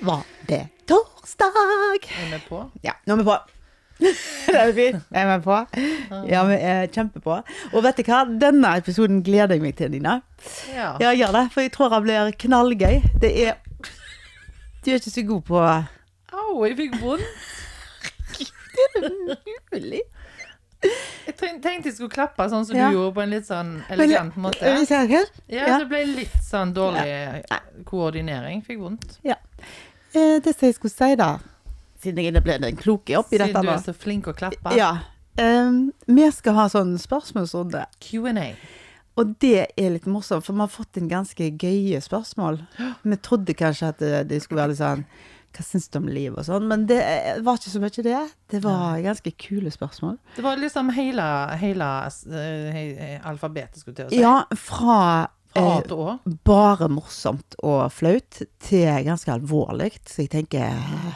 var det torsdag. Er vi på? Ja, nå er vi på. det er jo fint. Er vi på? Ja, vi er kjempepå. Og vet du hva? Denne episoden gleder jeg meg til, Nina. Ja. Ja, jeg gjør det, for jeg tror han blir knallgøy. Det er Du er ikke så god på Au, jeg fikk vondt. Mulig. Jeg ten- tenkte jeg skulle klappe sånn som Ja. du gjorde, på en litt sånn elegant måte. Ja, ja. det ble litt sånn dårlig koordinering. Fikk vondt. Eh, Det som jeg skulle si, da Siden jeg ble den kloke oppi dette Siden du nå. er så flink å klappe. Ja. Em, vi skal ha sånn spørsmålsrunde. Q&A. Og det er litt morsomt, for vi har fått inn ganske gøye spørsmål. Vi trodde kanskje at det, det skulle være litt sånn Hva syns du om livet og sånn? Men det eh, var ikke så mye det. Det var ganske kule spørsmål. Det var liksom hele, hele eh, he- alfabetet, skulle jeg til å si. Ja, fra Altså, Fra eh, A til Å. bare morsomt og flaut til ganske alvorlig. Så jeg tenker eh,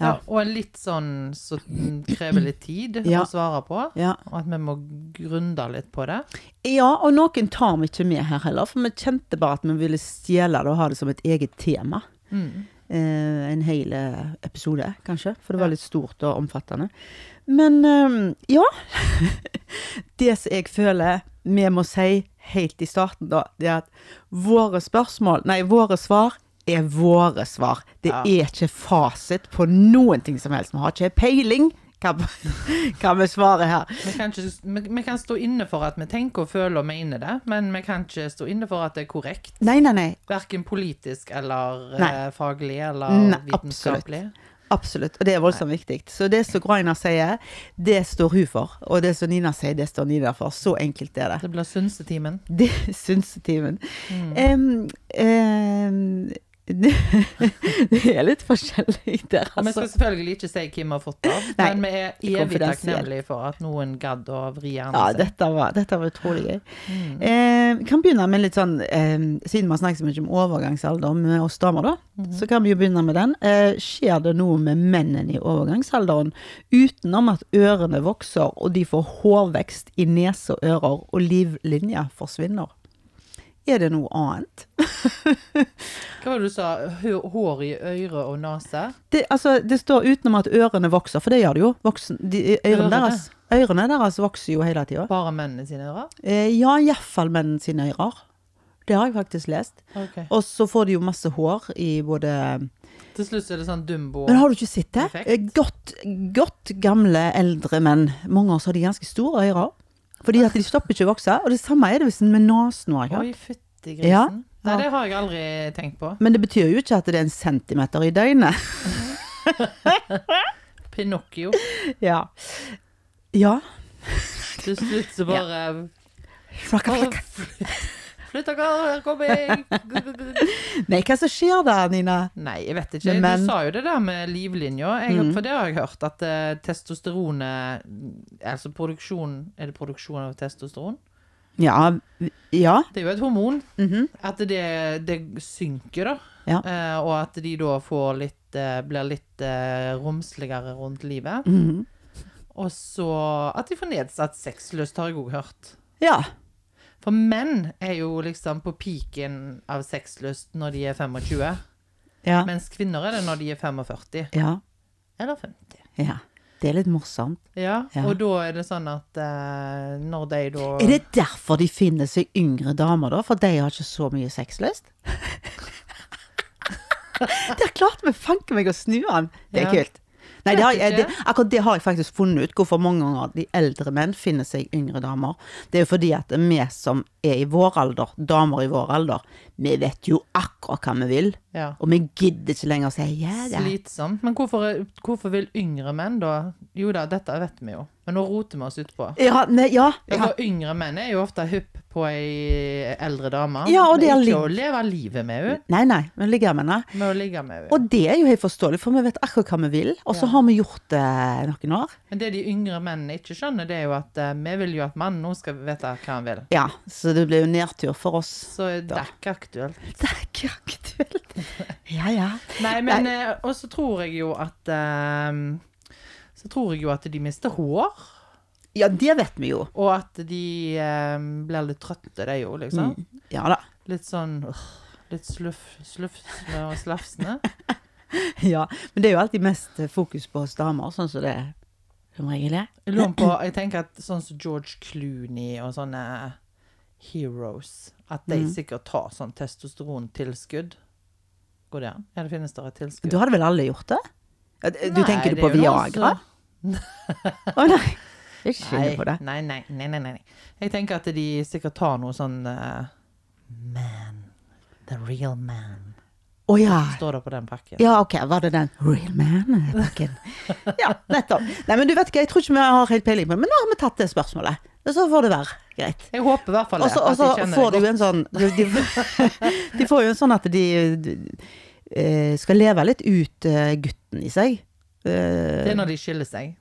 Ja, ja. og litt sånn som krever litt tid Ja. å svare på. Ja. Og at vi må grunde litt på det. ja, og noen tar vi ikke med her heller, for vi kjente bare at vi ville stjele det og ha det som et eget tema. Eh, en hel eh, episode, kanskje, for det var litt stort og omfattende. Men eh, ja. det som jeg føler vi må si helt i starten, da, det er at våre spørsmål, nei, våre svar er våre svar. Det Ja. er ikke fasit på noen ting som helst. Vi har ikke peiling hva, hva vi svarer her. Vi kan, ikke, vi, vi kan stå inne for at vi tenker og føler vi er inne i det, men vi kan ikke stå inne for at det er korrekt. Nei, nei, nei. Verken politisk eller eh, Nei. faglig eller Nei, vitenskapelig. Absolutt, og det er voldsomt viktig. Så det som Graina sier, det står hun for. Og det som Nina sier, det står Nina for. Så enkelt er det. Det blir synsetimen. Det er synsetimen. Em, em, det, det er litt forskjellig der, Og vi skal altså. selvfølgelig ikke si hvem vi har fått det av, Nei, men vi det er er evig konfidensielt. takknemlige for at noen gadd å vri hjernen Ja, sin. dette var, dette var utrolig gøy. Em, kan begynne med litt sånn, em, siden vi har snakket så mye om overgangsalder med oss damer, da, så kan vi jo begynne med den. Eh, skjer det noe med mennene i overgangsalderen utenom at ørene vokser, og de får hårvekst i nese og ører, og livlinja forsvinner? Er det noe annet? Hva var det du sa? Hø- Hår i øre og nese? Det, altså, det står utenom at ørene vokser, for det gjør det jo. Voksen, de, ørene, Ørene? deres, ørene deres vokser jo hele tida. Bare mennene sine ører? Eh, ja, iallfall mennene sine ører. Det har jeg faktisk lest. Ok. Og så får de jo masse hår i både Til slutt så er det sånn dumbo. Men har du ikke sett det? Perfekt. Eh, Godt, godt gamle eldre menn. Mange av oss har de ganske store ører. Fordi at de stopper ikke å vokse. Og det samme er det hvis en med nesen òg. Oi, fytti grisen. Ja. Nei, det har jeg aldri tenkt på. Men det betyr jo ikke at det er en centimeter i døgnet. Pinocchio. Ja. Ja. Til slutt så bare Rakka, rakka. Flytt dere, her kommer jeg! Nei, hva som skjer da, Nina? Nei, jeg vet ikke. Mhm. Men- Du sa jo det der med livlinja. Jeg, For det har jeg hørt, at eh, testosteronet Altså produksjon Er det produksjon av testosteron? Ja. Ja. Det er jo et hormon. At det, det synker, da. Ja. Eh, og at de da får litt eh, Blir litt eh, romsligere rundt livet. Mhm. Og så at de får nedsatt sexlyst, har jeg òg hørt. Ja. For menn er jo liksom på piken av sexlyst når de er 25. Ja. Mens kvinner er det når de er 45. ja. Eller 50. ja. Det er litt morsomt. Ja, Ja. og da er det sånn at eh, når de da Er det derfor de finner seg yngre damer, da? For de har ikke så mye sexlyst? Der klarte vi fanken meg å snu han! Det er Ja. kult. Nei, det har, Vet jeg- ikke. det, akkurat det har jeg faktisk funnet ut, hvorfor mange ganger de eldre menn finner seg yngre damer. Det er jo fordi at vi som er i vår alder, damer i vår alder, vi vet jo akkurat hva vi vil. Ja. Og vi gidder ikke lenger å si ja, ja. Slitsomt. Men hvorfor, er- hvorfor vil yngre menn da Jo da, dette vet vi jo, men nå roter vi oss utpå. Ja, nei, ja, Ja. ja. for Yngre menn er jo ofte hypp på ei eldre dame. Ja, og Men det er ikke litt- å leve livet med henne, Nei, nei, vi ligger med henne. med å ligge med henne. Og det er jo helt forståelig, for vi vet akkurat hva vi vil. Og så Ja. har vi gjort det noen år. Men det de yngre mennene ikke skjønner, det er jo at eh, vi vil jo at mannen nå skal vite hva han vil. Ja, så det ble jo nedtur for oss. Så det er ikke aktuelt. Det er ikke aktuelt. Ja, ja. Nei, men eh, Og så tror jeg jo at eh, Så tror jeg jo at de mister hår. Ja, det vet vi jo. Og at de eh, blir litt trøtte, de jo, Mm. liksom. Ja da. Litt sånn øh, Litt sluff, sluff og slafsende. ja. Men det er jo alltid mest eh, fokus på oss damer, sånn som det som regel er. Jeg lurer på, jeg tenker at sånn som George Clooney og sånne heroes, at de sikkert tar sånn testosterontilskudd. Går det an? Ja, det finnes der et tilskudd. Da hadde vel alle gjort det? Ja, d- Du Nei, tenker det du på er jo noen Viagra? som- Å nei. Jeg skylder på det. Nei, nei, nei, nei, nei, nei. Jeg tenker at de sikkert tar noe sånn eh, Man. The real man. Å ja. Står det på den pakken. Ja, OK. Var det den Real Man-pakken? Ja, nettopp. Nei, men du vet ikke, jeg tror ikke vi har helt peiling på det, men nå har vi tatt det spørsmålet. Og så får det være greit. Jeg håper i hvert fall det. Og så- at og de så kjenner får det du en sånn de, de får jo en sånn at de, eh, skal leve litt ut eh, gutten i seg. Eh, godt. Det er når de skiller seg.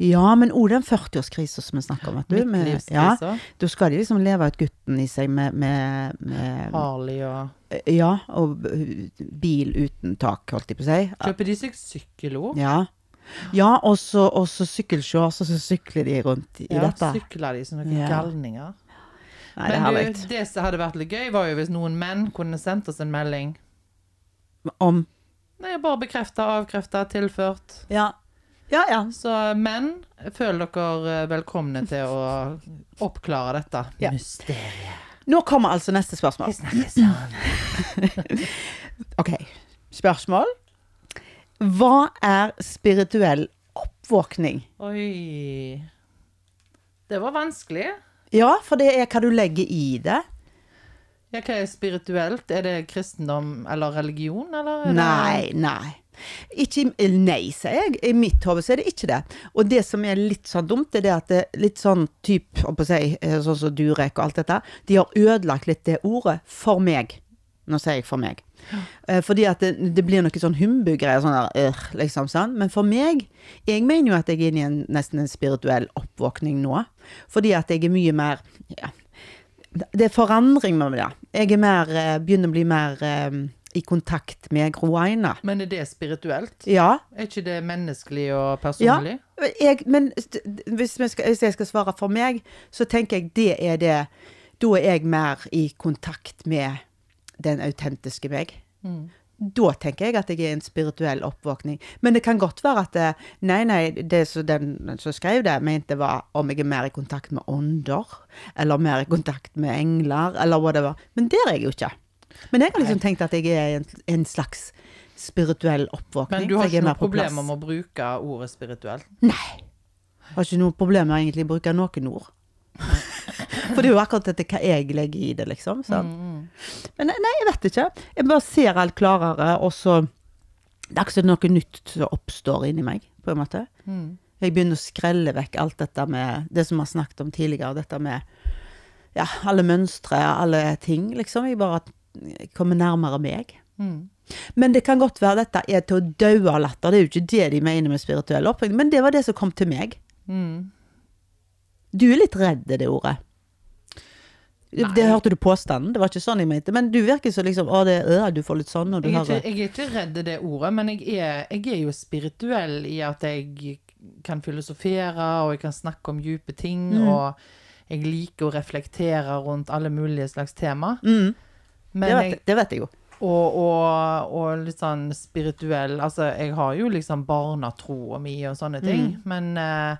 ja, men òg den 40-årskrisa som vi snakker om. Vet du, med, ja, Midtlivskrise. da skal de liksom leve ut gutten i seg med, med, med Harley og Ja, og b- bil uten tak, holdt jeg på å si. Kjøper de seg sykkelord? Ja. Ja, og så og så sykkelshorts, og så sykler de rundt i Ja, dette. sykler de som noen Ja. galninger? Nei, det er herlig. Men du, det som hadde vært litt gøy, var jo hvis noen menn kunne sendt oss en melding. Om Nei, bare bekrefta, avkrefta, tilført. Ja. Ja, ja. Så menn, føl dere eh, velkomne til å oppklare dette Ja. mysteriet. Nå kommer altså neste spørsmål. Vi snakkes sånn. Ok, spørsmål. Hva er spirituell oppvåkning? Oi. Det var vanskelig. Ja, for det er hva du legger i det. Ja, hva er spirituelt? Er det kristendom eller religion, eller? er det- Nei, nei. Ikke, eh, nei, sier jeg. I mitt hode så er det ikke det. Og det som er litt sånn dumt, er det at det er litt sånn typ, holdt på å si, eh, sånn som Durek og alt dette, de har ødelagt litt det ordet for meg. Nå sier jeg for meg. Eh, Fordi at det, det blir noe sånn humbug-greier, sånn der, øh, liksom sånn. Men for meg, jeg mener jo at jeg er inne i en, nesten en spirituell oppvåkning nå. Fordi at jeg er mye mer, ja, det er forandring med det. Jeg er mer, eh, begynner å bli mer eh, i kontakt med Groaina. Men er det spirituelt? Ja. Er ikke det menneskelig og ja. personlig? Jeg, men st- hvis, vi skal, hvis jeg skal svare for meg, så tenker jeg det er det Da er jeg mer i kontakt med den autentiske meg. Mm. Da tenker jeg at jeg er i en spirituell oppvåkning. Men det kan godt være at det, Nei, nei, det som den som skrev det, mente var om jeg er mer i kontakt med ånder, eller mer i kontakt med engler, eller whatever. Men der er jeg jo ikke. Men jeg har liksom tenkt at jeg er i en, en slags spirituell oppvåkning. Men du har for jeg er ikke mer noe på plass. problem om å bruke ordet spirituelt? Nei. Har ikke noe problem med egentlig å bruke noen ord. For det er jo akkurat dette hva jeg legger i det, liksom. Mm. Sant? Men nei, jeg vet ikke. Jeg bare ser alt klarere, og så Det er ikke så noe nytt som oppstår inni meg, på en måte. mm, Jeg begynner å skrelle vekk alt dette med det som vi har snakket om tidligere, dette med ja, alle mønstre, alle ting, liksom. Jeg bare kommer nærmere meg. mm, Men det kan godt være dette er til å daue av latter. Det er jo ikke det de mener med spirituell oppvåkning, men det var det som kom til meg. mm. Du er litt redd det ordet. Det hørte du påstanden, det var ikke sånn jeg mente. Men du virker så liksom Å, det er ø, du får litt sånn når du Jeg er, hører ikke, jeg er ikke redd det ordet, men jeg er, jeg er jo spirituell i at jeg kan filosofere, og jeg kan snakke om dype ting, Mm. og jeg liker å reflektere rundt alle mulige slags tema. mm, det, Men vet, jeg, jeg, det vet jeg jo. og, og, og litt sånn spirituell Altså, jeg har jo liksom barnetroa mi og Mm. sånne ting, men eh,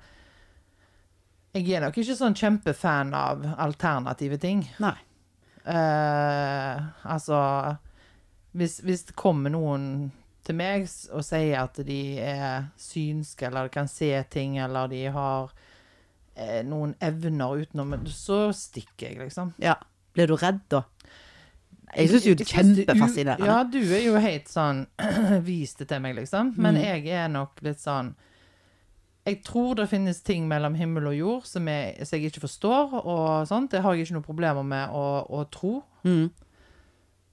jeg er nok ikke sånn kjempefan av alternative ting. Nei. Eh, altså hvis, hvis det kommer noen til meg s- og sier at de er synske, eller kan se ting, eller de har eh, noen evner utenom Så stikker jeg, liksom. Ja. Blir du redd da? Jeg syns jo det er synes det- kjempefascinerende. Ja, du er jo helt sånn Vis det til meg, liksom. Men Mm. jeg er nok litt sånn Jeg tror det finnes ting mellom himmel og jord som jeg, som jeg ikke forstår, og sånt. Det har jeg ikke noe problemer med å, å tro. Mm.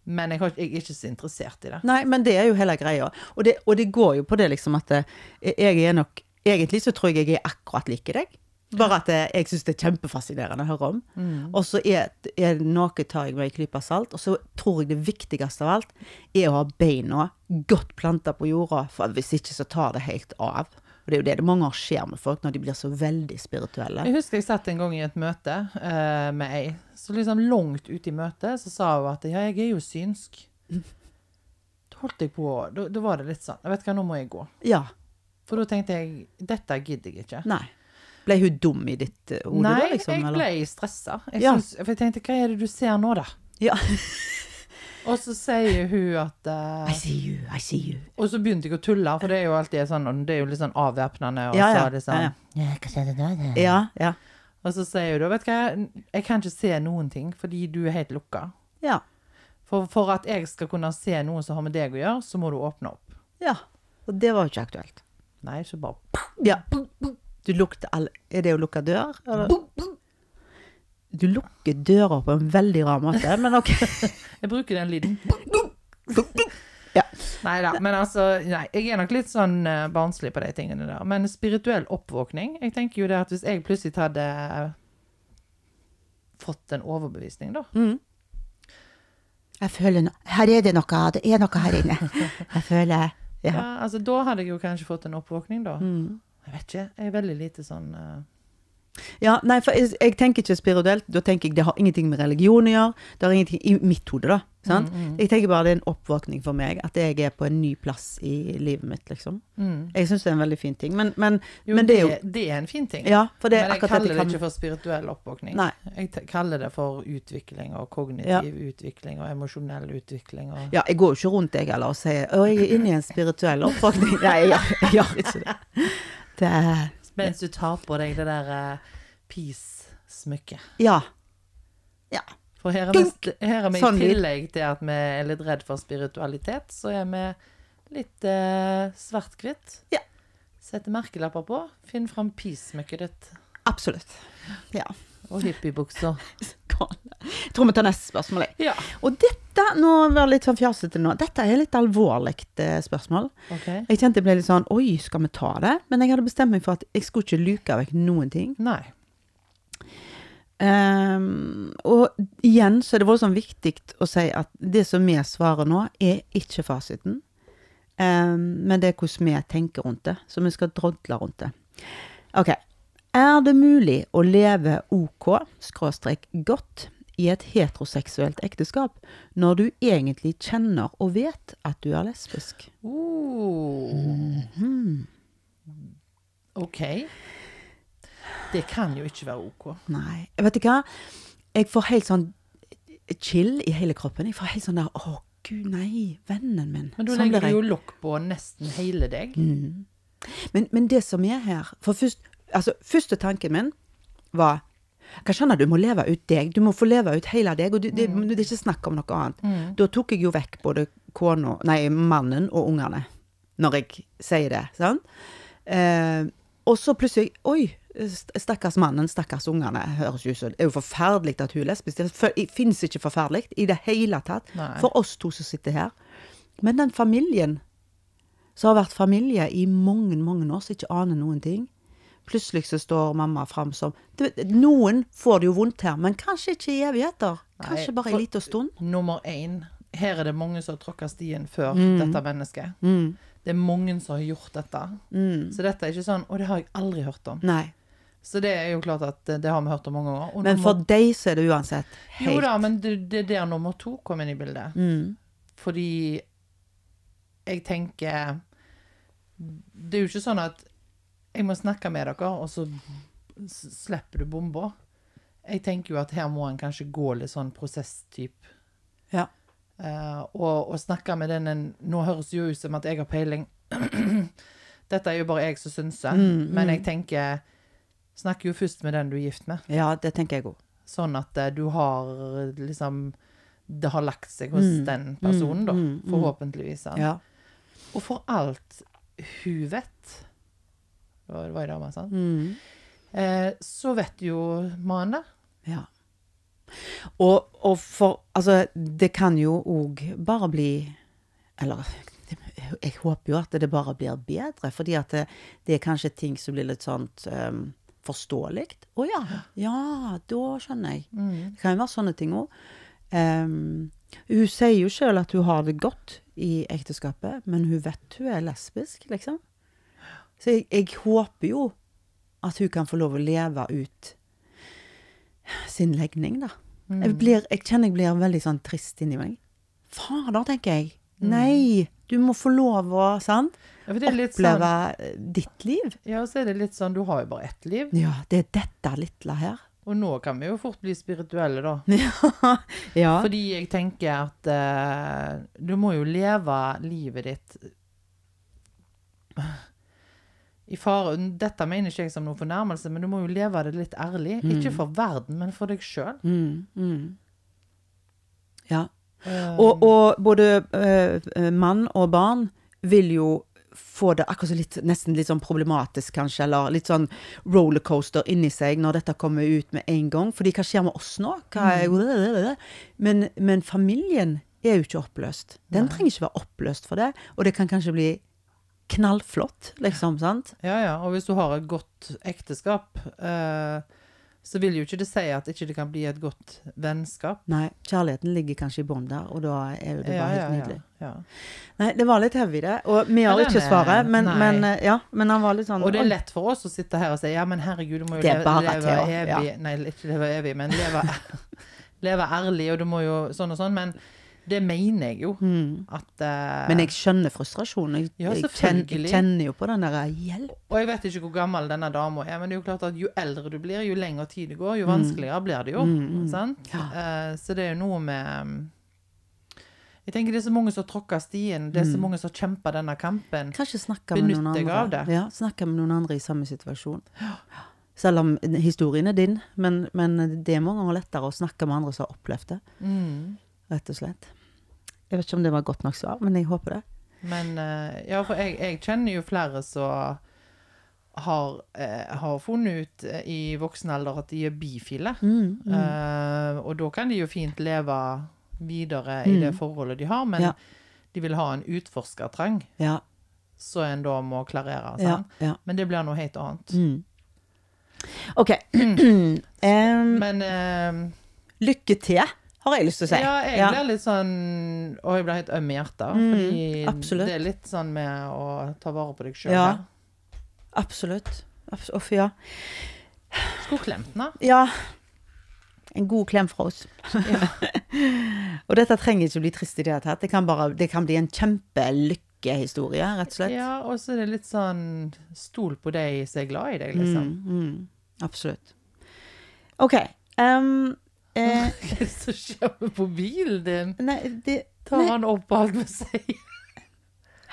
Men jeg, har, ikke- jeg er ikke så interessert i det. Nei, men det er jo hele greia. Og det, og det går jo på det liksom at eh, jeg er nok Egentlig så tror jeg jeg er akkurat like deg. Bare at eh, jeg syns det er kjempefascinerende å høre om. Mm. Og så er, er noe tar jeg med en klype salt. Og så tror jeg det viktigste av alt er å ha beina godt planta på jorda, for hvis ikke så tar det helt av. Og det er jo det det mange ganger skjer med folk når de blir så veldig spirituelle. Jeg husker jeg satt en gang i et møte eh, med ei. Mm. Så liksom langt ute i møtet så sa hun at ja, jeg er jo synsk. Da holdt jeg på Da da var det litt sånn Vet du hva, nå må jeg gå. Ja. For da tenkte jeg dette gidder jeg ikke. Nei. Ble hun dum i ditt eh, hode, Nei, da, liksom? jeg eller? ble stressa. Jeg, Ja. syns- for jeg tenkte hva er det du ser nå, da? Ja. Og så sier hun at eh, I see you, I see you. Og så begynte jeg å tulle, for det er jo alltid sånn og Det er jo litt sånn avvæpnende. Og Ja, ja. så er det sånn, Ja, «Ja, hva skjedde nå, da?» Ja, ja. Og så sier hun da Vet du hva, jeg kan ikke se noen ting fordi du er helt lukka. Ja. For, for at jeg skal kunne se noe som har med deg å gjøre, så må du åpne opp. ja. Og det var jo ikke aktuelt. Nei, ikke bare Ja. Du lukter alle Er det å lukke dør? Eller? Du lukker dører på en veldig rar måte, men OK. Jeg bruker den lyden. Ja. Nei da. Men altså, nei, jeg er nok litt sånn eh, barnslig på de tingene der. Men spirituell oppvåkning Jeg tenker jo det at hvis jeg plutselig hadde eh, fått en overbevisning, da Mm. Jeg føler no Her er det noe, det er noe her inne. Jeg føler ja, Ja. altså, Da hadde jeg jo kanskje fått en oppvåkning, da. Mm. Jeg vet ikke. Jeg er veldig lite sånn eh, ja nei, for jeg, jeg tenker ikke spirituelt. Da tenker jeg det har ingenting med religion å gjøre. Det har ingenting i mitt hode, da. Sant? Jeg tenker bare det er en oppvåkning for meg. At jeg er på en ny plass i livet mitt, liksom. Jeg syns det er en veldig fin ting. Men, men, mm. Jo, men det er jo det er en fin ting. Ja, for det er Men akkurat jeg dette kaller det kan- ikke for spirituell oppvåkning. Nei. Jeg t kaller det for utvikling og kognitiv Ja. utvikling og emosjonell utvikling og Ja, jeg går jo ikke rundt jeg heller og sier å, jeg er inne i en spirituell oppvåkning. Nei, jeg gjør- jeg gjør ikke det. det er- Mens du tar på deg det der uh, peace-smykket. ja. ja. For her er vi, Dunk! her er vi Sånn i lyd. tillegg til at vi er litt redd for spiritualitet, så er vi litt eh, svart-hvitt. Ja. Setter merkelapper på. Finn fram peace-smykket ditt Absolutt. Ja. og hippiebuksa. Gale. Jeg tror vi tar neste spørsmål. jeg. Ja. Og dette nå var jeg litt sånn fjasete nå. Dette er litt alvorlig eh, spørsmål. OK? Jeg kjente jeg ble litt sånn Oi, skal vi ta det? Men jeg hadde bestemt meg for at jeg skulle ikke luke vekk noen ting. Nei. Ehm, og igjen så er det voldsomt viktig å si at det som vi svarer nå, er ikke fasiten. Ehm, men det er hvordan vi tenker rundt det. Så vi skal drodle rundt det. Ok. Er det mulig å leve OK, skråstrek godt, i et heteroseksuelt ekteskap når du egentlig kjenner og vet at du er lesbisk? Oh. OK. Det kan jo ikke være OK. Nei. Vet du hva? Jeg får helt sånn chill i hele kroppen. Jeg får helt sånn der Å, gud, nei. Vennen min. Men da Sånn legger blir jeg. du jo lokk på nesten hele deg. Men, men det som er her For først, altså, første tanken min var hva skjønner du, du må leve ut deg. Du må få leve ut hele deg. og du, det, det er ikke snakk om noe annet. Da tok jeg jo vekk både kona, nei, mannen og ungene, når jeg sier det. sant? Eh, og så plutselig Oi, st- stakkars mannen, stakkars ungene. høres jo ut som- Det er jo forferdelig at hun er lesbisk. Det fø- Det fins ikke forferdelig i det hele tatt Nei. for oss to som sitter her. Men den familien som har vært familie i mange, mange år, som ikke aner noen ting. Plutselig så står mamma fram som du vet, Noen får det jo vondt her, men kanskje ikke i evigheter. Kanskje Nei, bare for- en liten stund. Nummer én. Her er det mange som har tråkka stien før Mm. dette mennesket. Det er mange som har gjort dette. Mm. Så dette er ikke sånn Og det har jeg aldri hørt om. Nei. Så det er jo klart at eh, det har vi hørt om mange ganger. Og Men nummer- for deg så er det uansett Jo helt Mm. da, men det, det er der nummer to kom inn i bildet. Fordi jeg tenker Det er jo ikke sånn at jeg må snakke med dere, og så s- slipper du bomba. Jeg tenker jo at her må en kanskje gå litt sånn prosesstype. Ja. Eh, og, og snakke med den en Nå høres jo ut som at jeg har peiling. Dette er jo bare jeg som synser. Mm, Men jeg tenker Snakk jo først med den du er gift med. ja, det tenker jeg òg. Sånn at eh, du har eh, liksom Det har lagt seg hos Mm, den personen, da. Forhåpentligvis. sant? Ja. Og for alt hun vet Det var det var ei dame, sant? Mm. Eh, så vet jo mannen det. ja. Og, og for Altså, det kan jo òg bare bli Eller jeg håper jo at det bare blir bedre, fordi at det, det er kanskje ting som blir litt sånn um, forståelig. Å ja. Ja, da skjønner jeg. Mm. Det kan jo være sånne ting òg. hun sier jo sjøl at hun har det godt i ekteskapet, men hun vet hun er lesbisk, liksom. Så jeg, jeg håper jo at hun kan få lov å leve ut sin Mm. legning, da. Jeg, blir, jeg kjenner jeg blir veldig sånn trist inni meg. Fader, tenker jeg. Nei! Du må få lov å sant? Ja, for Mm. det er litt oppleve sånn, eh, ditt liv. ja, og så er det litt sånn, du har jo bare ett liv. Ja, det er dette lille her. Og nå kan vi jo fort bli spirituelle, da. Ja. ja. Fordi jeg tenker at eh, du må jo leve livet ditt i fare. Dette mener ikke jeg som noen fornærmelse, men du må jo leve det litt ærlig. Ikke for verden, men for deg sjøl. Mm, mm. ja. Og, og både eh, mann og barn vil jo få det akkurat så litt, nesten litt sånn problematisk, kanskje, eller litt sånn rollercoaster inni seg når dette kommer ut med en gang. Fordi hva skjer med oss nå? Hva Mm. er, men, men familien er jo ikke oppløst. Den trenger ikke være oppløst for det, og det kan kanskje bli knallflott, liksom, sant? Ja, ja. Og hvis du har et godt ekteskap, eh, så vil jo ikke det si at ikke det ikke kan bli et godt vennskap. Nei, kjærligheten ligger kanskje i bånn der, og da er jo det bare Ja, helt ja, nydelig. Ja, ja. Nei, det var litt heavy, det. Og vi har Ja, den ikke er- svaret, men, nei. men, eh, ja, men han var litt sånn Og det er lett for oss å sitte her og si ja, men herregud, du må jo Det er leve, bare leve Thea, evig Nei, ikke leve evig, men leve, leve ærlig, og du må jo sånn og sånn. Men det mener jeg jo. At eh, Mm. Men jeg skjønner frustrasjonen. Jeg, Ja, jeg, kjenner, jeg selvfølgelig. kjenner jo på den derre hjelp. Og jeg vet ikke hvor gammel denne dama er, men det er jo klart at jo eldre du blir, jo lengre tid det går, jo Mm. vanskeligere blir det jo. Sant? Eh, så det er jo noe med um, Jeg tenker det er så mange som tråkker stien, det er Mm. så mange som kjemper denne kampen. Kanskje snakke med noen Benytt deg andre. av det. Ja, snakke med noen andre i samme situasjon. Selv om historien er din, men, men det er mange ganger lettere å snakke med andre som har opplevd det. Mm. Rett og slett. Jeg vet ikke om det var godt nok svar, men jeg håper det. Men eh, ja, for jeg, jeg kjenner jo flere som har, eh, har funnet ut eh, i voksen alder at de er bifile. Mm, Eh, og da kan de jo fint leve videre i det forholdet de har, men Mm. Ja. de vil ha en utforskertrang, Ja, så en da må ja, klarere. sant? ja. Mm. Men det blir noe helt annet. OK. Em, Men eh, lykke til, har jeg lyst til å si. ja, jeg blir litt sånn Og jeg blir helt øm i hjertet. fordi Mm, absolutt. det er litt sånn med å ta vare på deg sjøl. Ja. Absolutt. Abs Uff, ja. Skulle klemt den, da. Ja. En god klem fra oss. og dette trenger ikke å bli trist i det hele tatt. Det kan, bare, det kan bli en kjempelykkehistorie, rett og slett. Ja, og så er det litt sånn Stol på deg som er glad i deg, liksom. Mm, Absolutt. OK. em, eh, Hva er det som skjer med mobilen din? nei, det Tar han opp alt vi sier?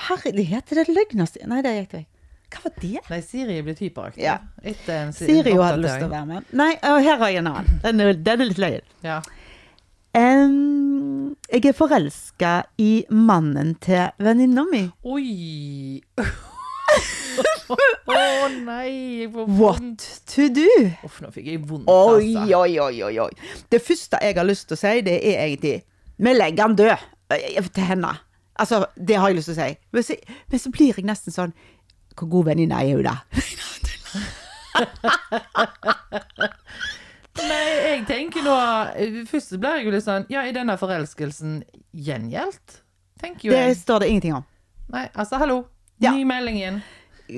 Herlighet, det er det løgneste Nei, det gikk vekk. Hva var det? Nei, Siri er blitt hyperaktiv. Ja. Etter en si- Siri jo hadde lyst til å oppdatering. være med. Nei, og her har jeg en annen. Den er, den er litt løyen. Ja. Em, jeg er forelska i mannen til venninna mi. Oi! Å nei! Jeg får vondt. What to do? Uff, nå fikk jeg vondt, Mm. Oi, altså. oi, oi, oi, oi. Det første jeg har lyst til å si, det er egentlig Vi legger han død eh, til henne. Altså, det har jeg lyst til å si. Men så, men så blir jeg nesten sånn Hvor god venninne er hun, da? Nei, jeg tenker nå eh, Først så ble jeg jo litt sånn Ja, er denne forelskelsen gjengjeldt? Tenker jo Det jeg. står det ingenting om. Nei, altså, hallo. Ja. Ny melding inn.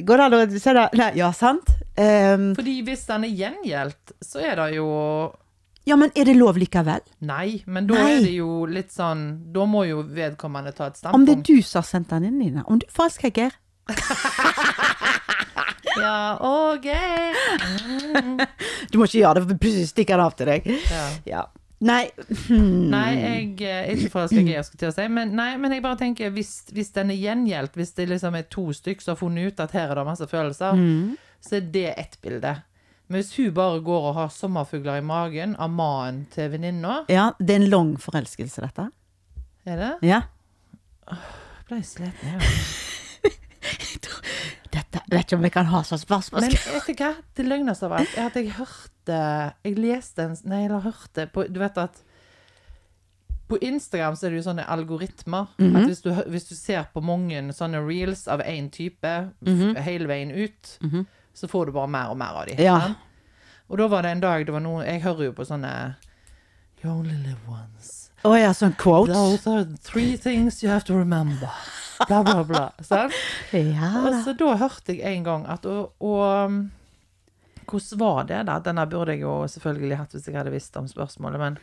Går det an å si det? Nei, ja, sant? Ehm, Fordi hvis den er gjengjeldt, så er det jo ja, men er det lov likevel? Nei, men da Nei. er det jo litt sånn Da må jo vedkommende ta Om et det er standpunkt. du som har sendt den inn, Nina? Om du forelsker deg, Geir? Ja, OK. Du må ikke gjøre det, for plutselig stikker det av til deg. Ja. Ja. Nei, hmm. Nei, jeg eh, er ikke forelska i Geir, skulle jeg til å si. Men, nei, men jeg bare tenker, hvis, hvis den er gjengjeldt, hvis det liksom er to stykk som har funnet ut at her er det masse følelser, Mm. så er det ett bilde. Men hvis hun bare går og har sommerfugler i magen av mannen til venninna Ja, det er en lang forelskelse, dette. Er det? Ja. Jeg ble sliten, jeg. Dette vet ikke om vi kan ha som spørsmål. Men vet du hva? Det løgneste av alt er at jeg hørte Jeg leste en Nei, eller hørte på, Du vet at på Instagram så er det jo sånne algoritmer. At hvis du, hø- hvis du ser på mange sånne reels av én type f- hele veien ut, så får du bare mer og mer av dem. Ja. Og da var det en dag det var noen Jeg hører jo på sånne You only live once. Å ja, sånn quotes. Those are three things you have to remember. Bla, bla, bla. Sant? Ja Og da. så da hørte jeg en gang at Og, og um, hvordan var det, da? Denne burde jeg jo selvfølgelig hatt hvis jeg hadde visst om spørsmålet, men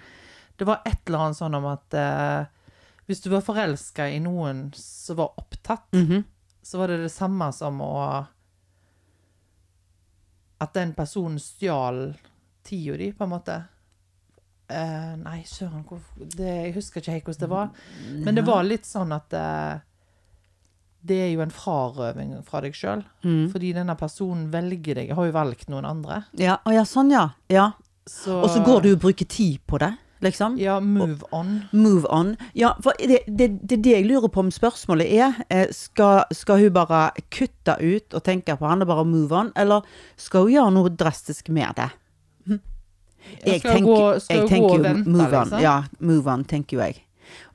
det var et eller annet sånn om at eh, Hvis du var forelska i noen som var opptatt, Mhm. så var det det samme som å At den personen stjal tida di, på en måte. Eh, nei, søren, hvor, det, jeg husker ikke helt hvordan det var. Men det var litt sånn at eh, Det er jo en frarøving fra deg sjøl. Mhm. Fordi denne personen velger deg. Har jo valgt noen andre. Ja, å, ja sånn ja. ja. Så, Og så går du og bruker tid på det, liksom. Ja, move on. Move on. Ja, for det er det, det, er det jeg lurer på om spørsmålet er. eh, Skal, skal hun bare kutte ut og tenke på han og bare move on, eller skal hun gjøre noe drastisk med det? Hm. Jeg skal hun tenker, gå- skal jeg hun tenker gå og jo vente, move on. liksom? Ja, move on, tenker jo jeg.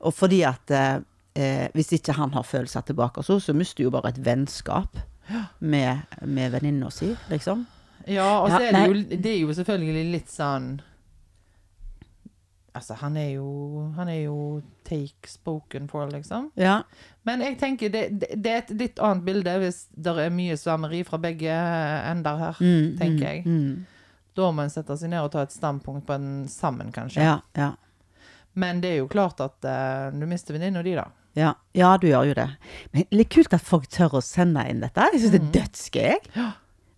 Og fordi at eh, eh, hvis ikke han har følelser tilbake og så, så mister hun jo bare et vennskap med, med venninna si, liksom. Ja, og Ja, så er det, nei. jo, det er jo selvfølgelig litt sånn Altså, han er jo Han er jo take spoken for, liksom. Ja. Men jeg tenker det, det, det er et litt annet bilde hvis det er mye svermeri fra begge ender her, Mm, tenker mm, jeg. Mm. Da må en sette seg ned og ta et standpunkt på en sammen, kanskje. Ja, ja. Men det er jo klart at eh, du mister venninna di, da. Ja, ja, du gjør jo det. Men litt kult at folk tør å sende inn dette. Jeg syns det er dødsgøy. jeg.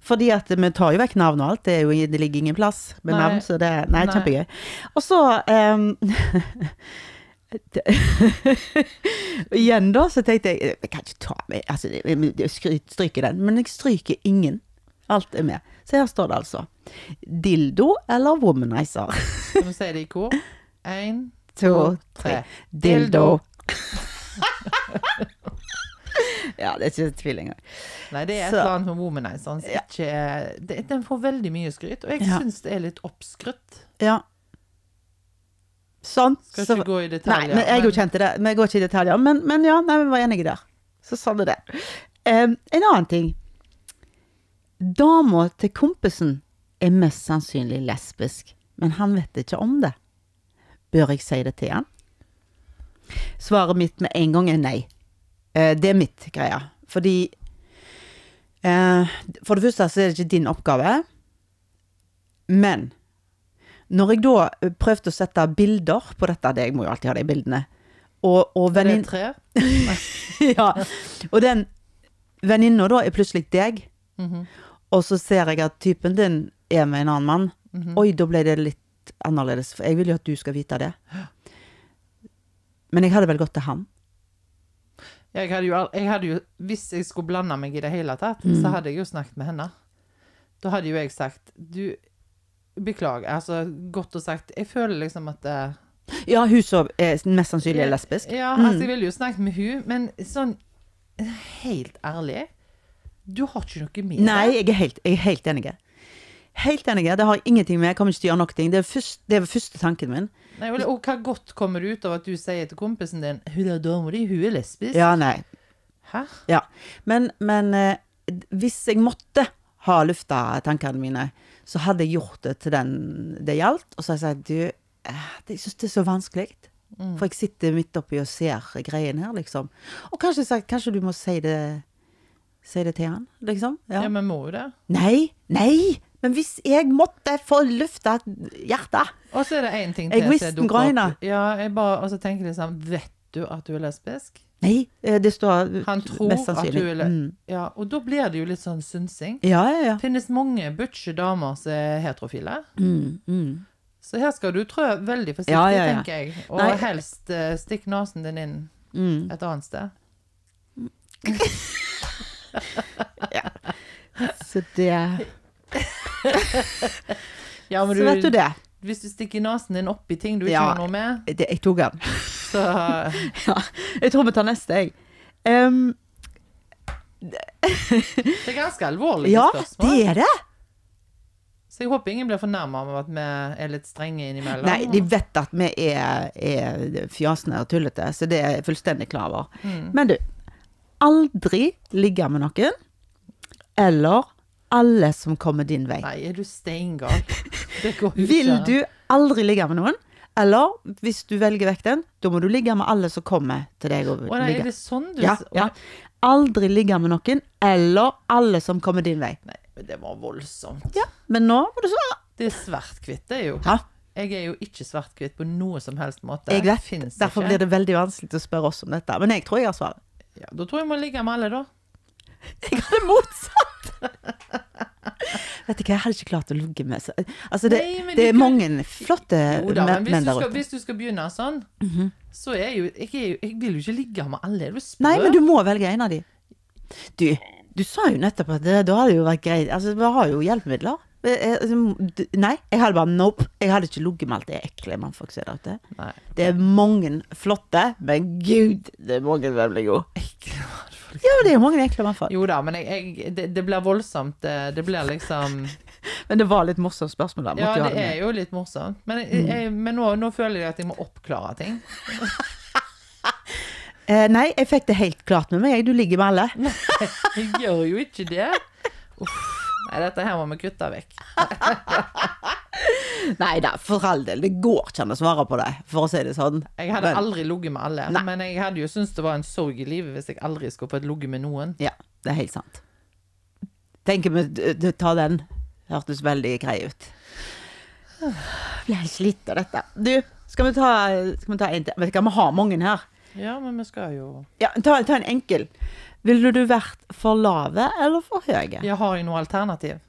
Fordi at vi tar jo vekk navn og alt. Det, er jo, det ligger ingen plass med Nei. navn, så det Nei, Nei. kjempegøy. Og så ehm, det- Igjen da, så tenkte jeg Jeg kan ikke ta med altså, jeg- jeg- jeg skry- Stryker den. Men jeg stryker ingen. Alt er med. Så her står det altså. Dildo eller womanizer? Skal vi si det i kor? Én, To, tre. tre. Dildo. ja, det er ikke tvil engang. Nei, det er et Så- eller annet med womanizeren som ikke er det, Den får veldig mye skryt, og jeg Ja. syns det er litt oppskrytt. Ja. Sånn. Skal så- ikke gå i nei, detaljer. men jeg godkjente det. Vi går ikke i detaljer. Men, men ja, nei, vi var enige der. Så sånn er det. Em, en annen ting. Dama til kompisen er mest sannsynlig lesbisk, men han vet ikke om det. Bør jeg si det til han? Svaret mitt med en gang er nei. Eh, det er mitt greie. Fordi eh, For det første så er det ikke din oppgave. Men når jeg da eh, prøvde å sette bilder på dette, det, jeg må jo alltid ha de bildene, og, og Er det vennin- tre? ja. Og den venninna da er plutselig deg, Mhm. og så ser jeg at typen din er med en annen mann. mhm. Oi, da ble det litt annerledes, for jeg vil jo at du skal vite det. Men jeg hadde vel gått til han. Jeg hadde jo, al- jeg hadde jo, hvis jeg skulle blande meg i det hele tatt, Mm. så hadde jeg jo snakket med henne. Da hadde jo jeg sagt Du, beklager. Altså, godt og sagt Jeg føler liksom at eh, Ja, hun som er mest sannsynlig er lesbisk. Ja, Mm. altså, jeg ville jo snakket med hun, men sånn helt ærlig Du har ikke noe med Nei, jeg er helt, jeg er helt enig. Helt enig. Det har jeg ingenting med. Jeg kommer ikke til å gjøre noe. ting. Det er, først, det er første tanken min. Nei, og, og hva godt kommer det ut av at du sier til kompisen din Hun der dama di, hun er lesbisk. Ja, nei. Hæ? Ja. Men, men eh, hvis jeg måtte ha lufta tankene mine, så hadde jeg gjort det til den det gjaldt. Og så har jeg sagt du, eh, det- jeg syns det er så vanskelig. Mm. For jeg sitter midt oppi og ser greien her, liksom. Og kanskje, jeg har sagt, kanskje du må si det, si det til han, liksom. Ja, Ja. men må jo det. Nei, nei! Men hvis jeg måtte få lufta hjertet Og så er det én ting Jeg til. som visste den dukker opp. greina. Ja, jeg bare, og så tenker jeg liksom Vet du at du er lesbisk? Nei, eh, det står Han tror mest at sannsynlig. du er le Mm. Ja, og da blir det jo litt sånn synsing. Ja, ja, ja. Det finnes mange butche damer som er heterofile. Mm, mm. Så her skal du trø veldig forsiktig, Ja, ja, ja. tenker jeg. Og Nei. helst eh, stikk nesen din inn Mm. et annet sted. Så det Ja, men Så vet du du, det. hvis du stikker nesen din opp i ting du ikke Ja. har noe med, det jeg tok den. så Ja, jeg tror vi tar neste, jeg. Ehm, Det er ganske alvorlige ja, spørsmål. det er det. Så jeg håper ingen blir fornærma av at vi er litt strenge innimellom. Nei, de vet at vi er, er fjasende og tullete, så det er jeg fullstendig klar over. Mm. Men du, aldri ligge med noen, eller alle som kommer din vei. Nei, er du steingal? Det går jo ikke. Vil du aldri ligge med noen, eller hvis du velger vekk den, da må du ligge med alle som kommer til deg. Og Å nei, er ligge. det sånn du Ja, ja. Aldri ligge med noen, eller alle som kommer din vei. Nei, men det var voldsomt. Ja, men nå må du svare. Det er svart kvitt, det er jo. Ja, Jeg er jo ikke svart-hvitt på noe som helst måte. Jeg vet, Finnes Derfor blir det veldig vanskelig å spørre oss om dette. Men jeg tror jeg har svaret. ja, Da tror jeg må ligge med alle, da. Jeg hadde motsatt! Vet du hva, jeg hadde ikke klart å ligge med så- Altså, det, Nei, men det du er kan- mange flotte Jo da, men Eh, men- hvis menn du, der Mhm. skal, ute. hvis du skal begynne sånn, så er jo jeg, er jo jeg vil jo ikke ligge med alle. Er du sprø? Nei, men du må velge en av de. Du, du sa jo nettopp at det, da hadde det jo vært greit. Altså, vi har jo hjelpemidler. Eh, eh, altså, du- Nei, jeg hadde bare nope. Jeg hadde ikke ligget med alt det ekle mannfolk ser der ute. Nei. Det er mange flotte, men gud, det er mange veldig gode. Ekle mannfolk. Ja, det er mange ekle mannfolk. Jo da, men jeg, jeg, det, det blir voldsomt. Det, det blir liksom Men det var litt morsomt spørsmål der. Ja, måtte Mhm. jo ha det er med. jo litt morsomt. Men, jeg, jeg, men nå, nå føler jeg at jeg må oppklare ting. Eh, nei, jeg fikk det helt klart med meg. jeg. Du ligger med alle. Jeg gjør jo ikke det. Uff. Nei, dette her må vi kutte vekk. Nei da, for all del. Det går ikke an å svare på det, for å si det sånn. Jeg hadde Men- aldri ligget med alle, Nei. men jeg hadde jo syntes det var en sorg i livet hvis jeg aldri skulle fått ligget med noen. Ja, det er helt sant. Tenker vi d- d- ta den. Hørtes veldig grei ut. Ble helt slitt av dette. Du, skal vi ta, skal vi ta en til? Vet du hva, vi har mange her. Ja, men vi skal jo Ja, ta, ta en enkel. Ville du vært for lave eller for høye? Ja, har jeg noe alternativ?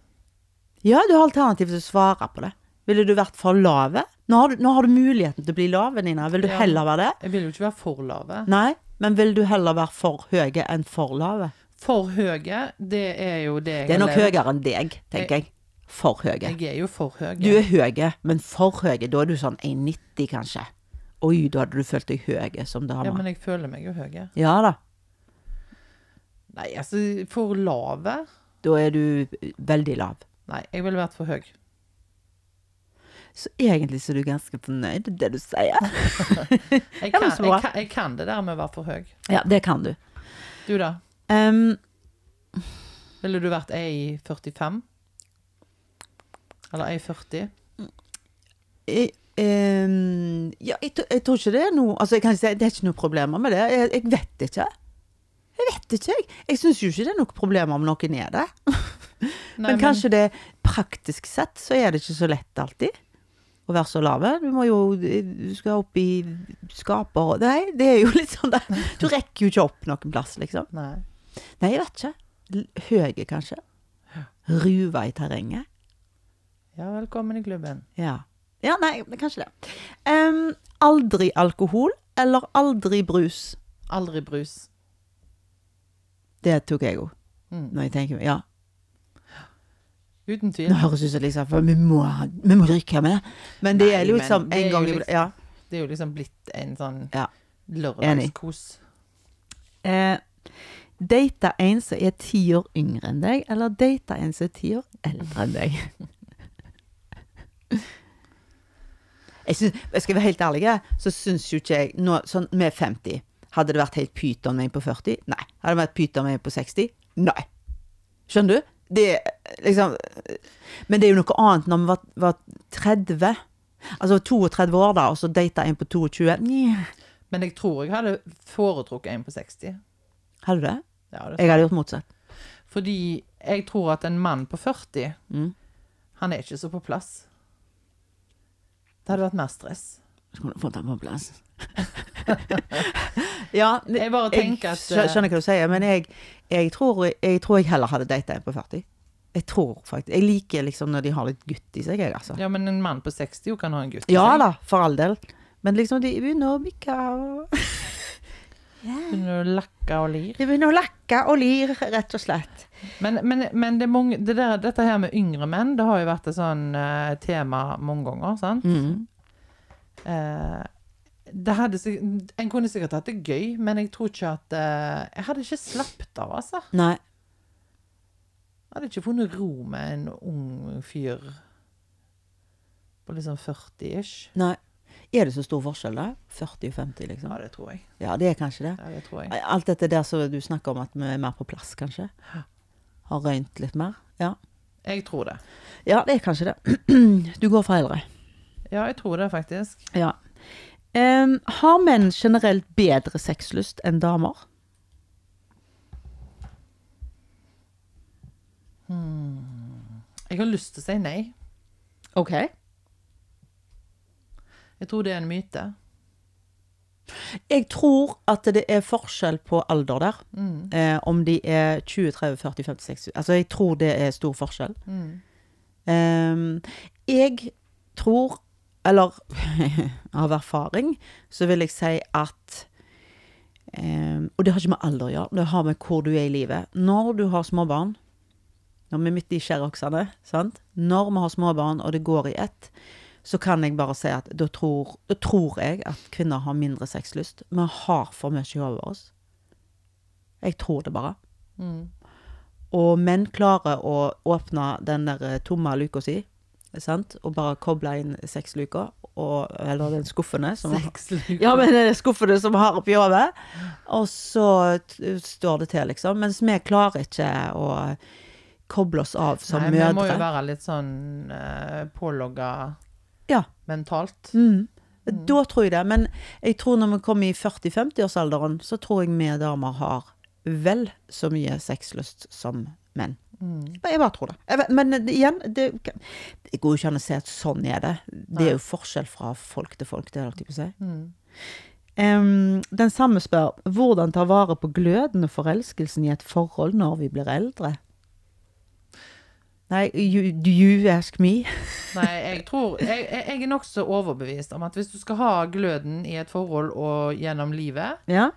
Ja, du har alternativ til å svare på det. Ville du vært for lave? Nå har du, nå har du muligheten til å bli lave, Nina. Vil du Ja. heller være det? Jeg vil jo ikke være for lave. Nei, men vil du heller være for høye enn for lave? For høye, det er jo det jeg Det er har nok levd- høyere enn deg, tenker jeg. For høye. Jeg er jo for høy. Du er høye, men for høye. Da er du sånn 1,90 kanskje. Oi, da hadde du følt deg høye som dame. Ja, Ja, men jeg føler meg jo høy. da. Nei, altså, for lave? Da er du veldig lav. Nei, jeg ville vært for høy. Så egentlig så er du ganske fornøyd med det du sier. Jeg Ja, kan, men så bra. jeg, kan, jeg kan det der med å være for høy. Ja, det kan du. Du da? Ehm, Ville du vært ei 45? Eller ei 40? jeg, ehm, ja, jeg, tr- jeg tror ikke det er noe Altså, jeg kan ikke si det er ikke noe problemer med det. Jeg, jeg vet ikke. Jeg vet ikke, jeg. Jeg syns jo ikke det er noe problemer om noen er det. Nei, Men kanskje det praktisk sett så er det ikke så lett alltid å være så lave. Du må jo Du skal opp i skaper og Nei, det er jo litt sånn der Du rekker jo ikke opp noen plass, liksom. Nei. Nei, jeg vet ikke. L- Høye, kanskje. Ruva i terrenget. Ja, velkommen i klubben. Ja. Ja, nei, men kanskje det. Em, aldri alkohol eller aldri brus. Aldri brus. Det tok jeg òg, Mm. når jeg tenker meg Ja. Uten tvil. Nå høres det ut som liksom, for vi må, vi må drikke med. Men det Nei, er jo men liksom det er en jo gang i liksom- Ja. Det er jo liksom blitt en sånn Ja. lørdagskos. Eh, date en som er ti år yngre enn deg, eller date en som er ti år eldre enn deg? Jeg, synes, jeg skal være helt ærlig, så syns jo ikke jeg nå, Sånn med 50 Hadde det vært helt pyton med en på 40? Nei. Hadde det vært pyton med en på 60? Nei. Skjønner du? Det er liksom Men det er jo noe annet når vi var, var 30. Altså 32 år, da, og så data en på 22. Nja. Men jeg tror jeg hadde foretrukket en på 60. Hadde du det? Ja, det Jeg hadde gjort motsatt. Fordi jeg tror at en mann på 40, Mm. han er ikke så på plass. Det hadde vært mer stress. Så kunne du fått den på plass. ja, Jeg bare tenker jeg at skjø- skjønner hva du sier, men jeg, jeg, tror, jeg tror jeg heller hadde data en på 40. Jeg tror faktisk Jeg liker liksom når de har litt gutt i seg, jeg, altså. eh, Ja, men en mann på 60 jo kan ha en gutt. i Ja seg. da, for all del. Men liksom, de begynner å bikke og Begynner å lakke og lir. De begynner å lakke og lir, rett og slett. Men, men, men det er mange, det der, dette her med yngre menn, det har jo vært et sånn eh, tema mange ganger, sant? Mm. Eh, det hadde, sikk- en kunne sikkert hatt det gøy, men jeg tror ikke at eh, Jeg hadde ikke slappet av, altså. Nei. Jeg hadde ikke funnet ro med en ung fyr på liksom 40-ish. nei. Er det så stor forskjell, da? 40 og 50, liksom? Ja, det tror jeg. Ja, det er kanskje det. Ja, det tror jeg. Alt dette der som du snakker om at vi er mer på plass, kanskje? Har røynt litt mer? Ja. Jeg tror det. Ja, det er kanskje det. Du går for eldre. Ja, jeg tror det, faktisk. Ja. Em, har menn generelt bedre sexlyst enn damer? Jeg har lyst til å si nei. Ok. Jeg tror det er en myte. Jeg tror at det er forskjell på alder der. Mm, Eh, om de er 20, 30, 40, 50, 60 Altså, jeg tror det er stor forskjell. mm, Ehm, jeg tror, eller av erfaring, så vil jeg si at ehm, Og det har ikke med alder å gjøre, det har med hvor du er i livet. Når du har småbarn Når vi er midt i skjæroksene, sant? Når vi har småbarn, og det går i ett, så kan jeg bare si at da tror, da tror jeg at kvinner har mindre sexlyst. Vi har for mye i hodet vårt. Jeg tror det bare. mm. Og menn klarer å åpne den der eh, tomme luka si, sant? og bare koble inn sexluka, og, eller den skuffene som Sexlykke. ja, men det er skuffene som har oppi hodet. Og så t- står det til, liksom. Mens vi klarer ikke å koble oss av som Nei, men jeg må jo mødre. være litt sånn uh, pålogga Ja. mentalt. Mm. Da tror jeg det. Men jeg tror når vi kommer i 40-50-årsalderen, så tror jeg vi damer har vel så mye sexlyst som menn. Jeg bare tror det. Jeg vet, men det- igjen, det, det går jo ikke an å si at sånn er det. Det er jo forskjell fra folk til folk, det er det alltid på å si. Mm. Em, den samme spør hvordan ta vare på gløden og forelskelsen i et forhold når vi blir eldre? Nei, you, do you ask me? Nei, jeg tror Jeg, jeg jeg er nokså overbevist om at hvis du skal ha gløden i et forhold og gjennom livet, Ja?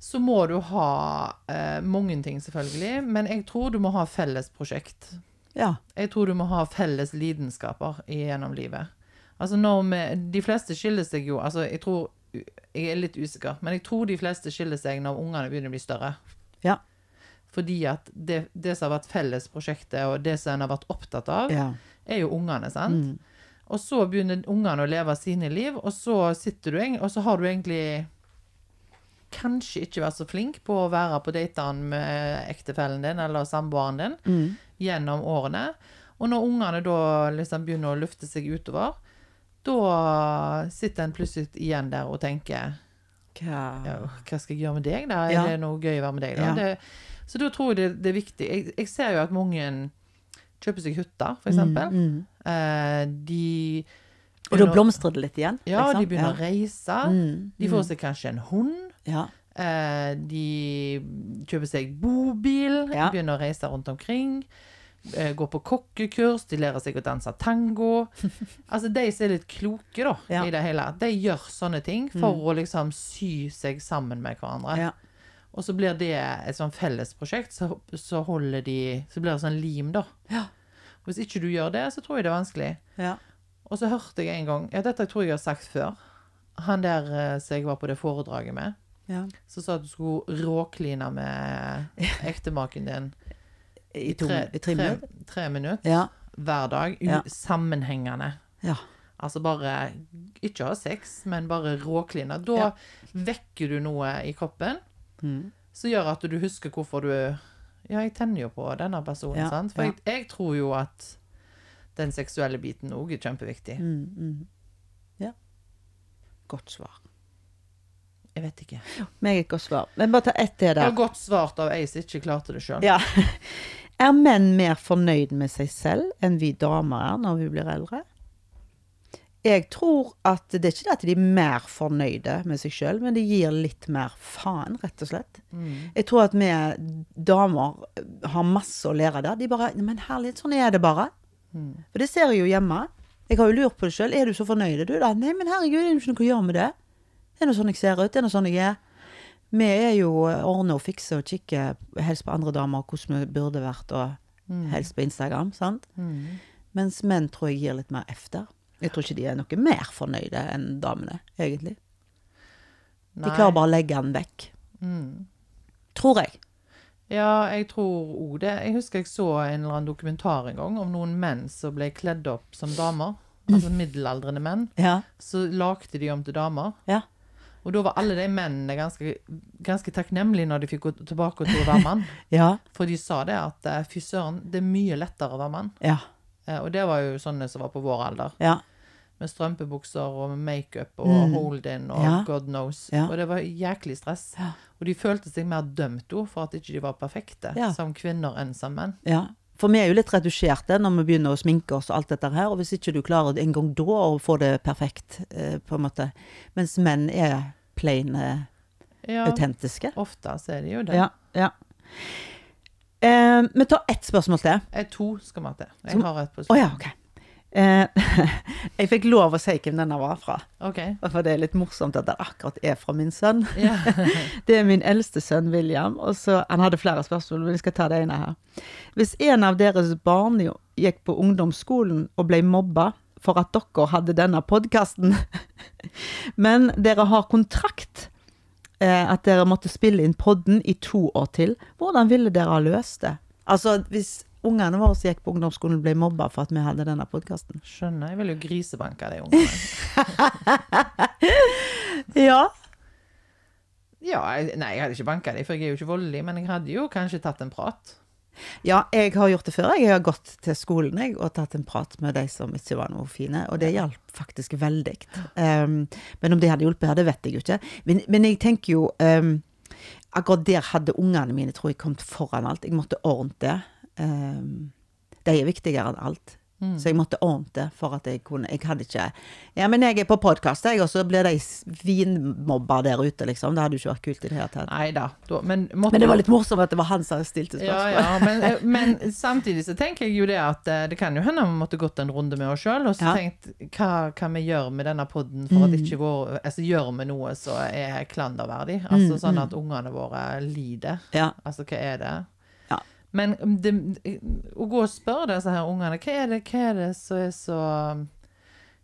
så må du ha eh, mange ting, selvfølgelig, men jeg tror du må ha felles prosjekt. Ja. Jeg tror du må ha felles lidenskaper gjennom livet. Altså når vi, De fleste skiller seg jo altså Jeg tror, jeg er litt usikker, men jeg tror de fleste skiller seg når ungene begynner å bli større. Ja. Fordi at det, det som har vært fellesprosjektet, og det som en har vært opptatt av, ja. Mm. er jo ungene, sant? Og så begynner ungene å leve sine liv, og så sitter du egentlig, og så har du egentlig kanskje ikke vært så flink på å være på datene med ektefellen din eller samboeren din Mm. gjennom årene. Og når ungene da liksom begynner å lufte seg utover, da sitter en plutselig igjen der og tenker ja, hva skal jeg gjøre med deg, da? Er Ja. det noe gøy å være med deg, da? Ja. Det, så da tror jeg det, det er viktig. Jeg, jeg ser jo at mange kjøper seg hytter, for eksempel. Eh, de Mm, Og da blomstrer det litt igjen? Ja, liksom. de begynner å ja. Mm, reise. De får seg kanskje en hund. Ja. Eh, de kjøper seg bobil, Ja. begynner å reise rundt omkring. Eh, går på kokkekurs, de lærer seg å danse tango. Altså de som er litt kloke, da, Ja. Mm. i det hele, de gjør sånne ting for å liksom sy seg sammen med hverandre. Ja. Og så blir det et sånn fellesprosjekt, så, så holder de Så blir det sånn lim, da. Ja. Hvis ikke du gjør det, så tror jeg det er vanskelig. Ja. Og så hørte jeg en gang Ja, dette tror jeg jeg har sagt før. Han der eh, som jeg var på det foredraget med, Ja. som sa at du skulle råkline med ektemaken din I, to, i tre tre, minutter? tre minutter Ja. hver dag. u- Ja. Sammenhengende. ja. Altså bare ikke ha sex, men bare råkline. Da Ja. vekker du noe i kroppen Mm, som gjør at du husker hvorfor du Ja, jeg tenner jo på denne personen, Ja, sant? For ja. jeg, jeg tror jo at den seksuelle biten òg er kjempeviktig. Mm. Godt svar. Jeg vet ikke. Det Meget godt svar. Men bare ta ett til var der. godt svart av ei som ikke klarte det sjøl. Ja. Er menn mer fornøyd med seg selv enn vi damer er når vi blir eldre? Jeg tror at det er ikke det at de er mer fornøyde med seg sjøl, men de gir litt mer faen, rett og slett. Mm. Jeg tror at vi damer har masse å lære der. De bare Men herlighet, sånn er det bare. Mm. For det ser jeg jo hjemme. Jeg har jo lurt på det sjøl. Er du så fornøyd, du, da? Nei, men herregud, det er jo ikke noe å gjøre med det. Det er nå sånn jeg ser ut. Det er nå sånn jeg er. Vi er jo ordne og fikse og kikke helst på andre damer, hvordan vi burde vært, Mm. og helst på Instagram, sant? Mens menn tror jeg gir litt mer F der. Jeg tror ikke de er noe mer fornøyde enn damene, egentlig. De klarer bare å legge den vekk. Mm. Tror jeg. Ja, jeg tror òg det. Jeg husker jeg så en eller annen dokumentar en gang om noen menn som ble kledd opp som damer. Mm. Altså middelaldrende menn. Ja. Så lagde de om til damer. Ja. Og da var alle de mennene ganske, ganske takknemlige når de fikk gå tilbake til å være mann. Ja. For de sa det at eh, fy søren, det er mye lettere å være mann. Ja. Eh, Og det var jo sånne som var på vår alder. Ja. Med strømpebukser og med makeup og hold-in og Mm. Ja. god knows. Ja. Og det var jæklig stress. Og de følte seg mer dømt òg for at ikke de ikke var perfekte Ja. som kvinner enn som menn. ja. For vi er jo litt retusjerte når vi begynner å sminke oss og alt dette her. Og hvis ikke du klarer en gang da å få det perfekt, eh, på en måte. Mens menn er plain eh, Ja, autentiske. ofte så er det jo det. Ja. ja. Eh, vi tar ett spørsmål til. Jeg er to skal vi ha til. Jeg Som- har et på Å ja, OK. Eh, jeg fikk lov å si hvem denne var fra. OK. For det er litt morsomt at den akkurat er fra min sønn. Ja. Det er min eldste sønn William. Og så, han hadde flere spørsmål, men jeg skal ta det ene her. Hvis en av deres barn jo- gikk på ungdomsskolen og ble mobba for at dere hadde denne podkasten, men dere har kontrakt eh, at dere måtte spille inn podden i to år til, hvordan ville dere ha løst det? Altså, hvis ungene våre som gikk på ungdomsskolen ble mobba for at vi hadde denne podkasten. Skjønner. Jeg vil jo grisebanke de ungene. Ja. Ja, jeg, nei, jeg hadde ikke banka de, for jeg er jo ikke voldelig, men jeg hadde jo kanskje tatt en prat. Ja, jeg har gjort det før. Jeg har gått til skolen jeg, og tatt en prat med de som ikke var noe fine, og det hjalp faktisk veldig. Um, men om det hadde hjulpet her, det vet jeg jo ikke. Men, men jeg tenker jo um, Akkurat der hadde ungene mine, tror jeg, kommet foran alt. Jeg måtte ordne det. Um, de er viktigere enn alt. Så jeg måtte ordne det for at jeg kunne Jeg hadde ikke Ja, men jeg er på podkast, jeg, og så blir de svinmobba der ute, liksom. Det hadde jo ikke vært kult i det hele tatt. Nei da. da- Men, måtte- Men det var litt morsomt at det var han som stilte ja, spørsmål. ja, men, eh, men samtidig så tenker jeg jo det at eh, det kan jo hende vi måtte gått en runde med oss sjøl og så Ja. Mm. tenkt hva kan vi gjøre med denne podden for at ikke vår Altså gjør vi noe som er Mm, klanderverdig? Altså sånn at ungene våre lider. Ja. Altså hva er det? Ja. Men um, det, å gå og spørre disse her ungene hva er, det, hva er det som er så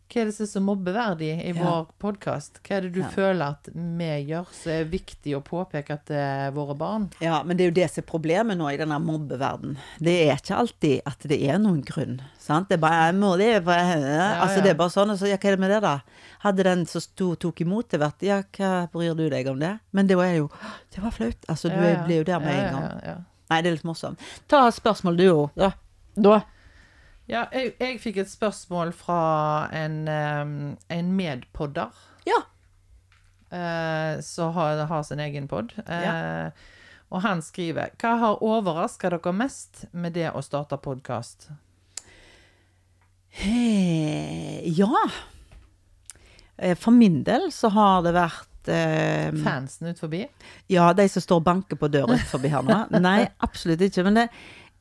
Hva er det som er så mobbeverdig i Ja. vår podkast? Hva er det du Ja. føler at vi gjør som er viktig å påpeke til våre barn? Ja, men det er jo det som er problemet nå i denne mobbeverden. Det er ikke alltid at det er noen grunn. sant? Det er bare jeg må det, for jeg, altså, ja. det er bare sånn. Og så, ja, hva er det med det, da? Hadde den som sto og tok imot det, vært Ja, hva bryr du deg om det? Men det var jo Det var flaut. Altså, du Ja, ja. blir jo der med Ja, en gang. Ja, ja. Nei, det er litt morsomt. Ta spørsmål, du òg. Da. da. ja jeg, jeg fikk et spørsmål fra en, eh, en medpodder. Ja. eh, som har, har sin egen pod. Eh, Ja. Og han skriver Hva har overraska dere mest med det å starte podkast? Eh, ja. Eh, For min del så har det vært eh, Fansen ut forbi? Ja, de som står og banker på døra utenfor her nå. Nei, absolutt ikke. Men, det,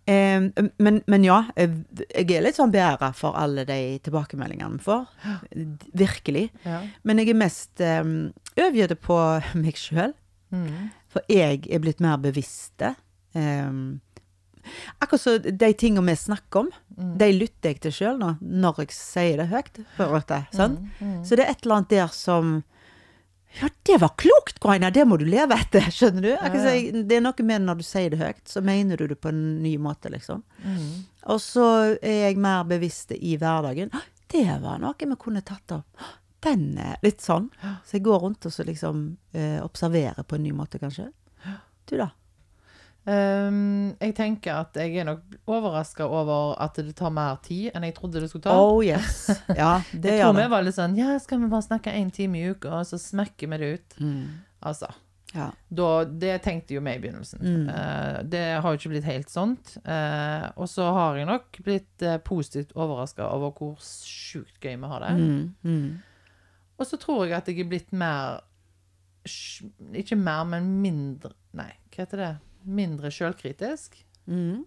eh, men, men ja, eh, jeg er litt sånn beæra for alle de tilbakemeldingene vi får. Virkelig. Ja. Men jeg er mest eh, overgitt på meg sjøl. Mm. For jeg er blitt mer bevisste. Ehm, akkurat så de tingene vi snakker om, de lytter jeg til sjøl nå, når jeg sier det høyt. på en måte, sant? Så det er et eller annet der som Ja, det var klokt, Graina! Det må du leve etter! Skjønner du? Akkurat så jeg- det er noe med når du sier det høyt, så mener du det på en ny måte, liksom. Mm. Og så er jeg mer bevisst i hverdagen. «Hå, Det var noe vi kunne tatt opp. Hå, Den er litt sånn. Så jeg går rundt og så liksom eh, observerer på en ny måte, kanskje. Du, da? Ehm, jeg tenker at jeg er nok overraska over at det tar mer tid enn jeg trodde det skulle ta. Oh yes. Ja, det jeg gjør tror vi det. var litt sånn Ja, skal vi bare snakke én time i uka, og så smekker vi det ut? Altså. Mm. Ja. da, det tenkte jo meg i begynnelsen. Mm. Eh, det har jo ikke blitt helt sånt. Eh, og så har jeg nok blitt eh, positivt overraska over hvor sjukt gøy vi har det. Mm, mm. Og så tror jeg at jeg er blitt mer sj- Ikke mer, men mindre Nei, hva heter det? Mindre sjølkritisk. mm.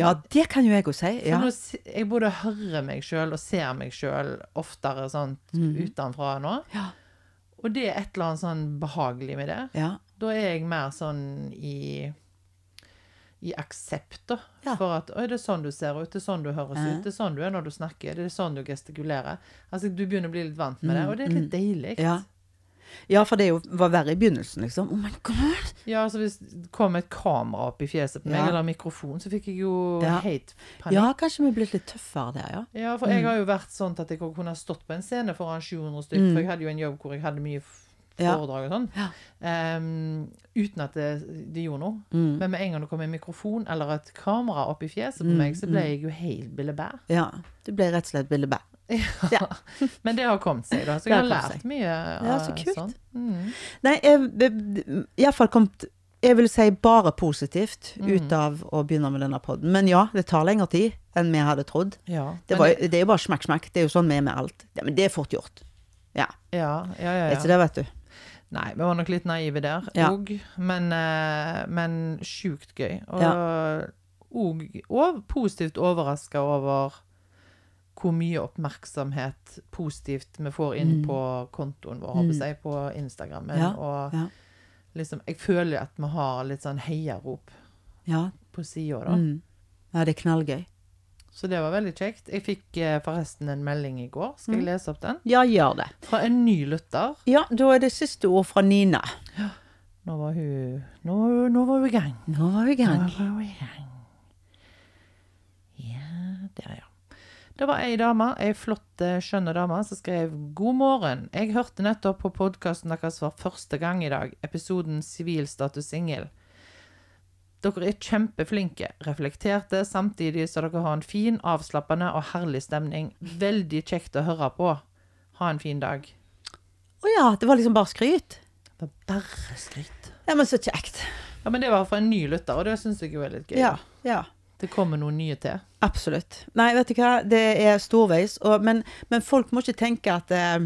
ja, det kan jo jeg òg si. For Ja. nå, se- jeg både hører meg sjøl og ser meg sjøl oftere sånn Mm. utenfra nå. Ja. Og det er et eller annet sånn behagelig med det. Ja. Da er jeg mer sånn i i aksept, da. Ja. For at Oi, det er sånn du ser ut, det er sånn du høres Ja. ut, det er sånn du er når du snakker, det er sånn du gestikulerer. Altså, du begynner å bli litt vant Mm, med det, og det er litt deilig. Ja. ja, for det er jo- var verre i begynnelsen, liksom. Oh my god! Ja, altså hvis det kom et kamera opp i fjeset på meg, Ja. eller en mikrofon, så fikk jeg jo Ja. helt panikk. Ja, Mm. kanskje vi er blitt litt tøffere der, ja. Ja, for jeg har jo vært sånn at jeg kunne ha stått på en scene foran 700 stykker, for jeg hadde jo en jobb hvor jeg hadde mye f- Mm. Ja. foredrag og sånn, Ja. Ehm, uten at det, det gjorde noe. Mm. Men med en gang det kom en mikrofon eller et kamera opp i fjeset på meg, mm. så ble jeg jo helt billebær. ja. Du ble rett og slett Bille Bæ. Men det har kommet seg, da. Så Det jeg har har kommet lært mye. Ja, av så kult. sånn. Mm. Nei, iallfall kommet jeg vil si bare positivt ut av å begynne med denne podden. Men ja, det tar lengre tid enn vi hadde trodd. Ja. Det, men var, det er jo bare smekk, smekk. Det er jo sånn vi er med alt. Ja, men det er fort gjort. Ja, ja, ja, ja, det er ja. ikke det, vet du. Nei, vi var nok litt naive der Ja. òg, men, eh, men sjukt gøy. Og, og, og positivt overraska over hvor mye oppmerksomhet positivt vi får inn på kontoen vår, håper jeg, på Instagrammen. Mm. Ja, Og ja. liksom Jeg føler at vi har litt sånn heiarop Ja, på sida, da. mm. ja det er knallgøy. Så det var veldig kjekt. Jeg fikk eh, forresten en melding i går. Skal Mm. jeg lese opp den? Ja, gjør det. Fra en ny lytter. Ja, da er det siste ord fra Nina. Nå var hun Nå, nå var hun i gang. Nå var vi i gang. Nå var hun i gang. Ja, der, ja. Det var ei dame, ei flott, eh, skjønne dame, som skrev God morgen. Jeg hørte nettopp på podkasten deres for første gang i dag, episoden Sivil status singel. Dere er kjempeflinke, reflekterte, samtidig så dere har en fin, avslappende og herlig stemning. Veldig kjekt å høre på. Ha en fin dag. Å ja, det var liksom bare skryt. Det var bare skryt. Ja, men så kjekt. Ja, men det var fra en ny lytter, og det syns jeg jo er litt gøy. Ja, ja. Det kommer noen nye til. Absolutt. Nei, vet du hva, det er storveis. Og, men, men folk må ikke tenke at eh,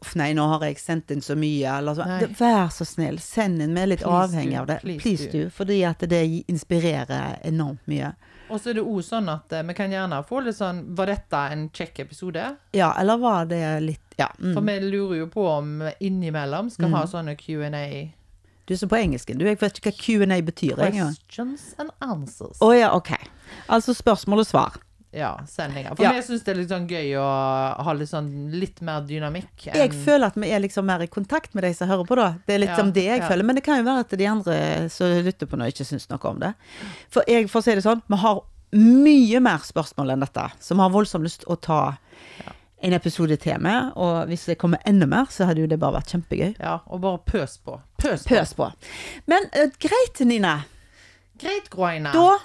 Uff, nei, nå har jeg sendt inn så mye, eller så. Nei. Det- Vær så snill, send inn. Vi er litt Please avhengig do, av det. please Please, do. Fordi at det inspirerer enormt mye. Og så er det òg sånn at eh, vi kan gjerne få litt sånn Var dette en kjekk episode? Ja, eller var det litt Ja. For Mm. vi lurer jo på om vi innimellom skal ha sånne Q&A. Du er så på engelsken, du. Jeg vet ikke hva Q&A betyr engang. Questions and answers. Å ja, OK. Altså spørsmål og svar. Ja, sendinger. For Ja. vi syns det er litt sånn gøy å ha litt sånn litt mer dynamikk enn Jeg føler at vi er liksom mer i kontakt med de som hører på, da. Det er litt Ja, som det jeg ja. føler. Men det kan jo være at de andre som lytter på nå, ikke syns noe om det. For jeg, for å si det sånn, vi har mye mer spørsmål enn dette, så vi har voldsomt lyst å ta en episode til med. Og hvis det kommer enda mer, så hadde jo det bare vært kjempegøy. Ja, og bare pøs på. Pøs på. Pøs på. Men eh, greit, Nina. Greit, Groina. Da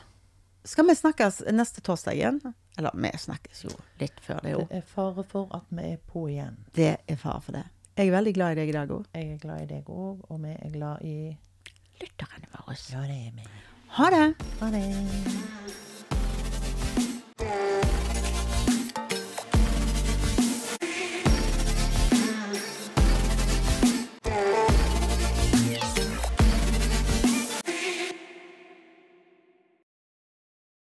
skal vi snakkes neste torsdag igjen. Eller vi snakkes jo litt før det, jo. Det er fare for at vi er på igjen. Det er fare for det. Jeg er veldig glad i deg i dag òg. Jeg er glad i deg òg, og vi er glad i Lytterne våre. Ja, det er vi. Ha det. Ha det.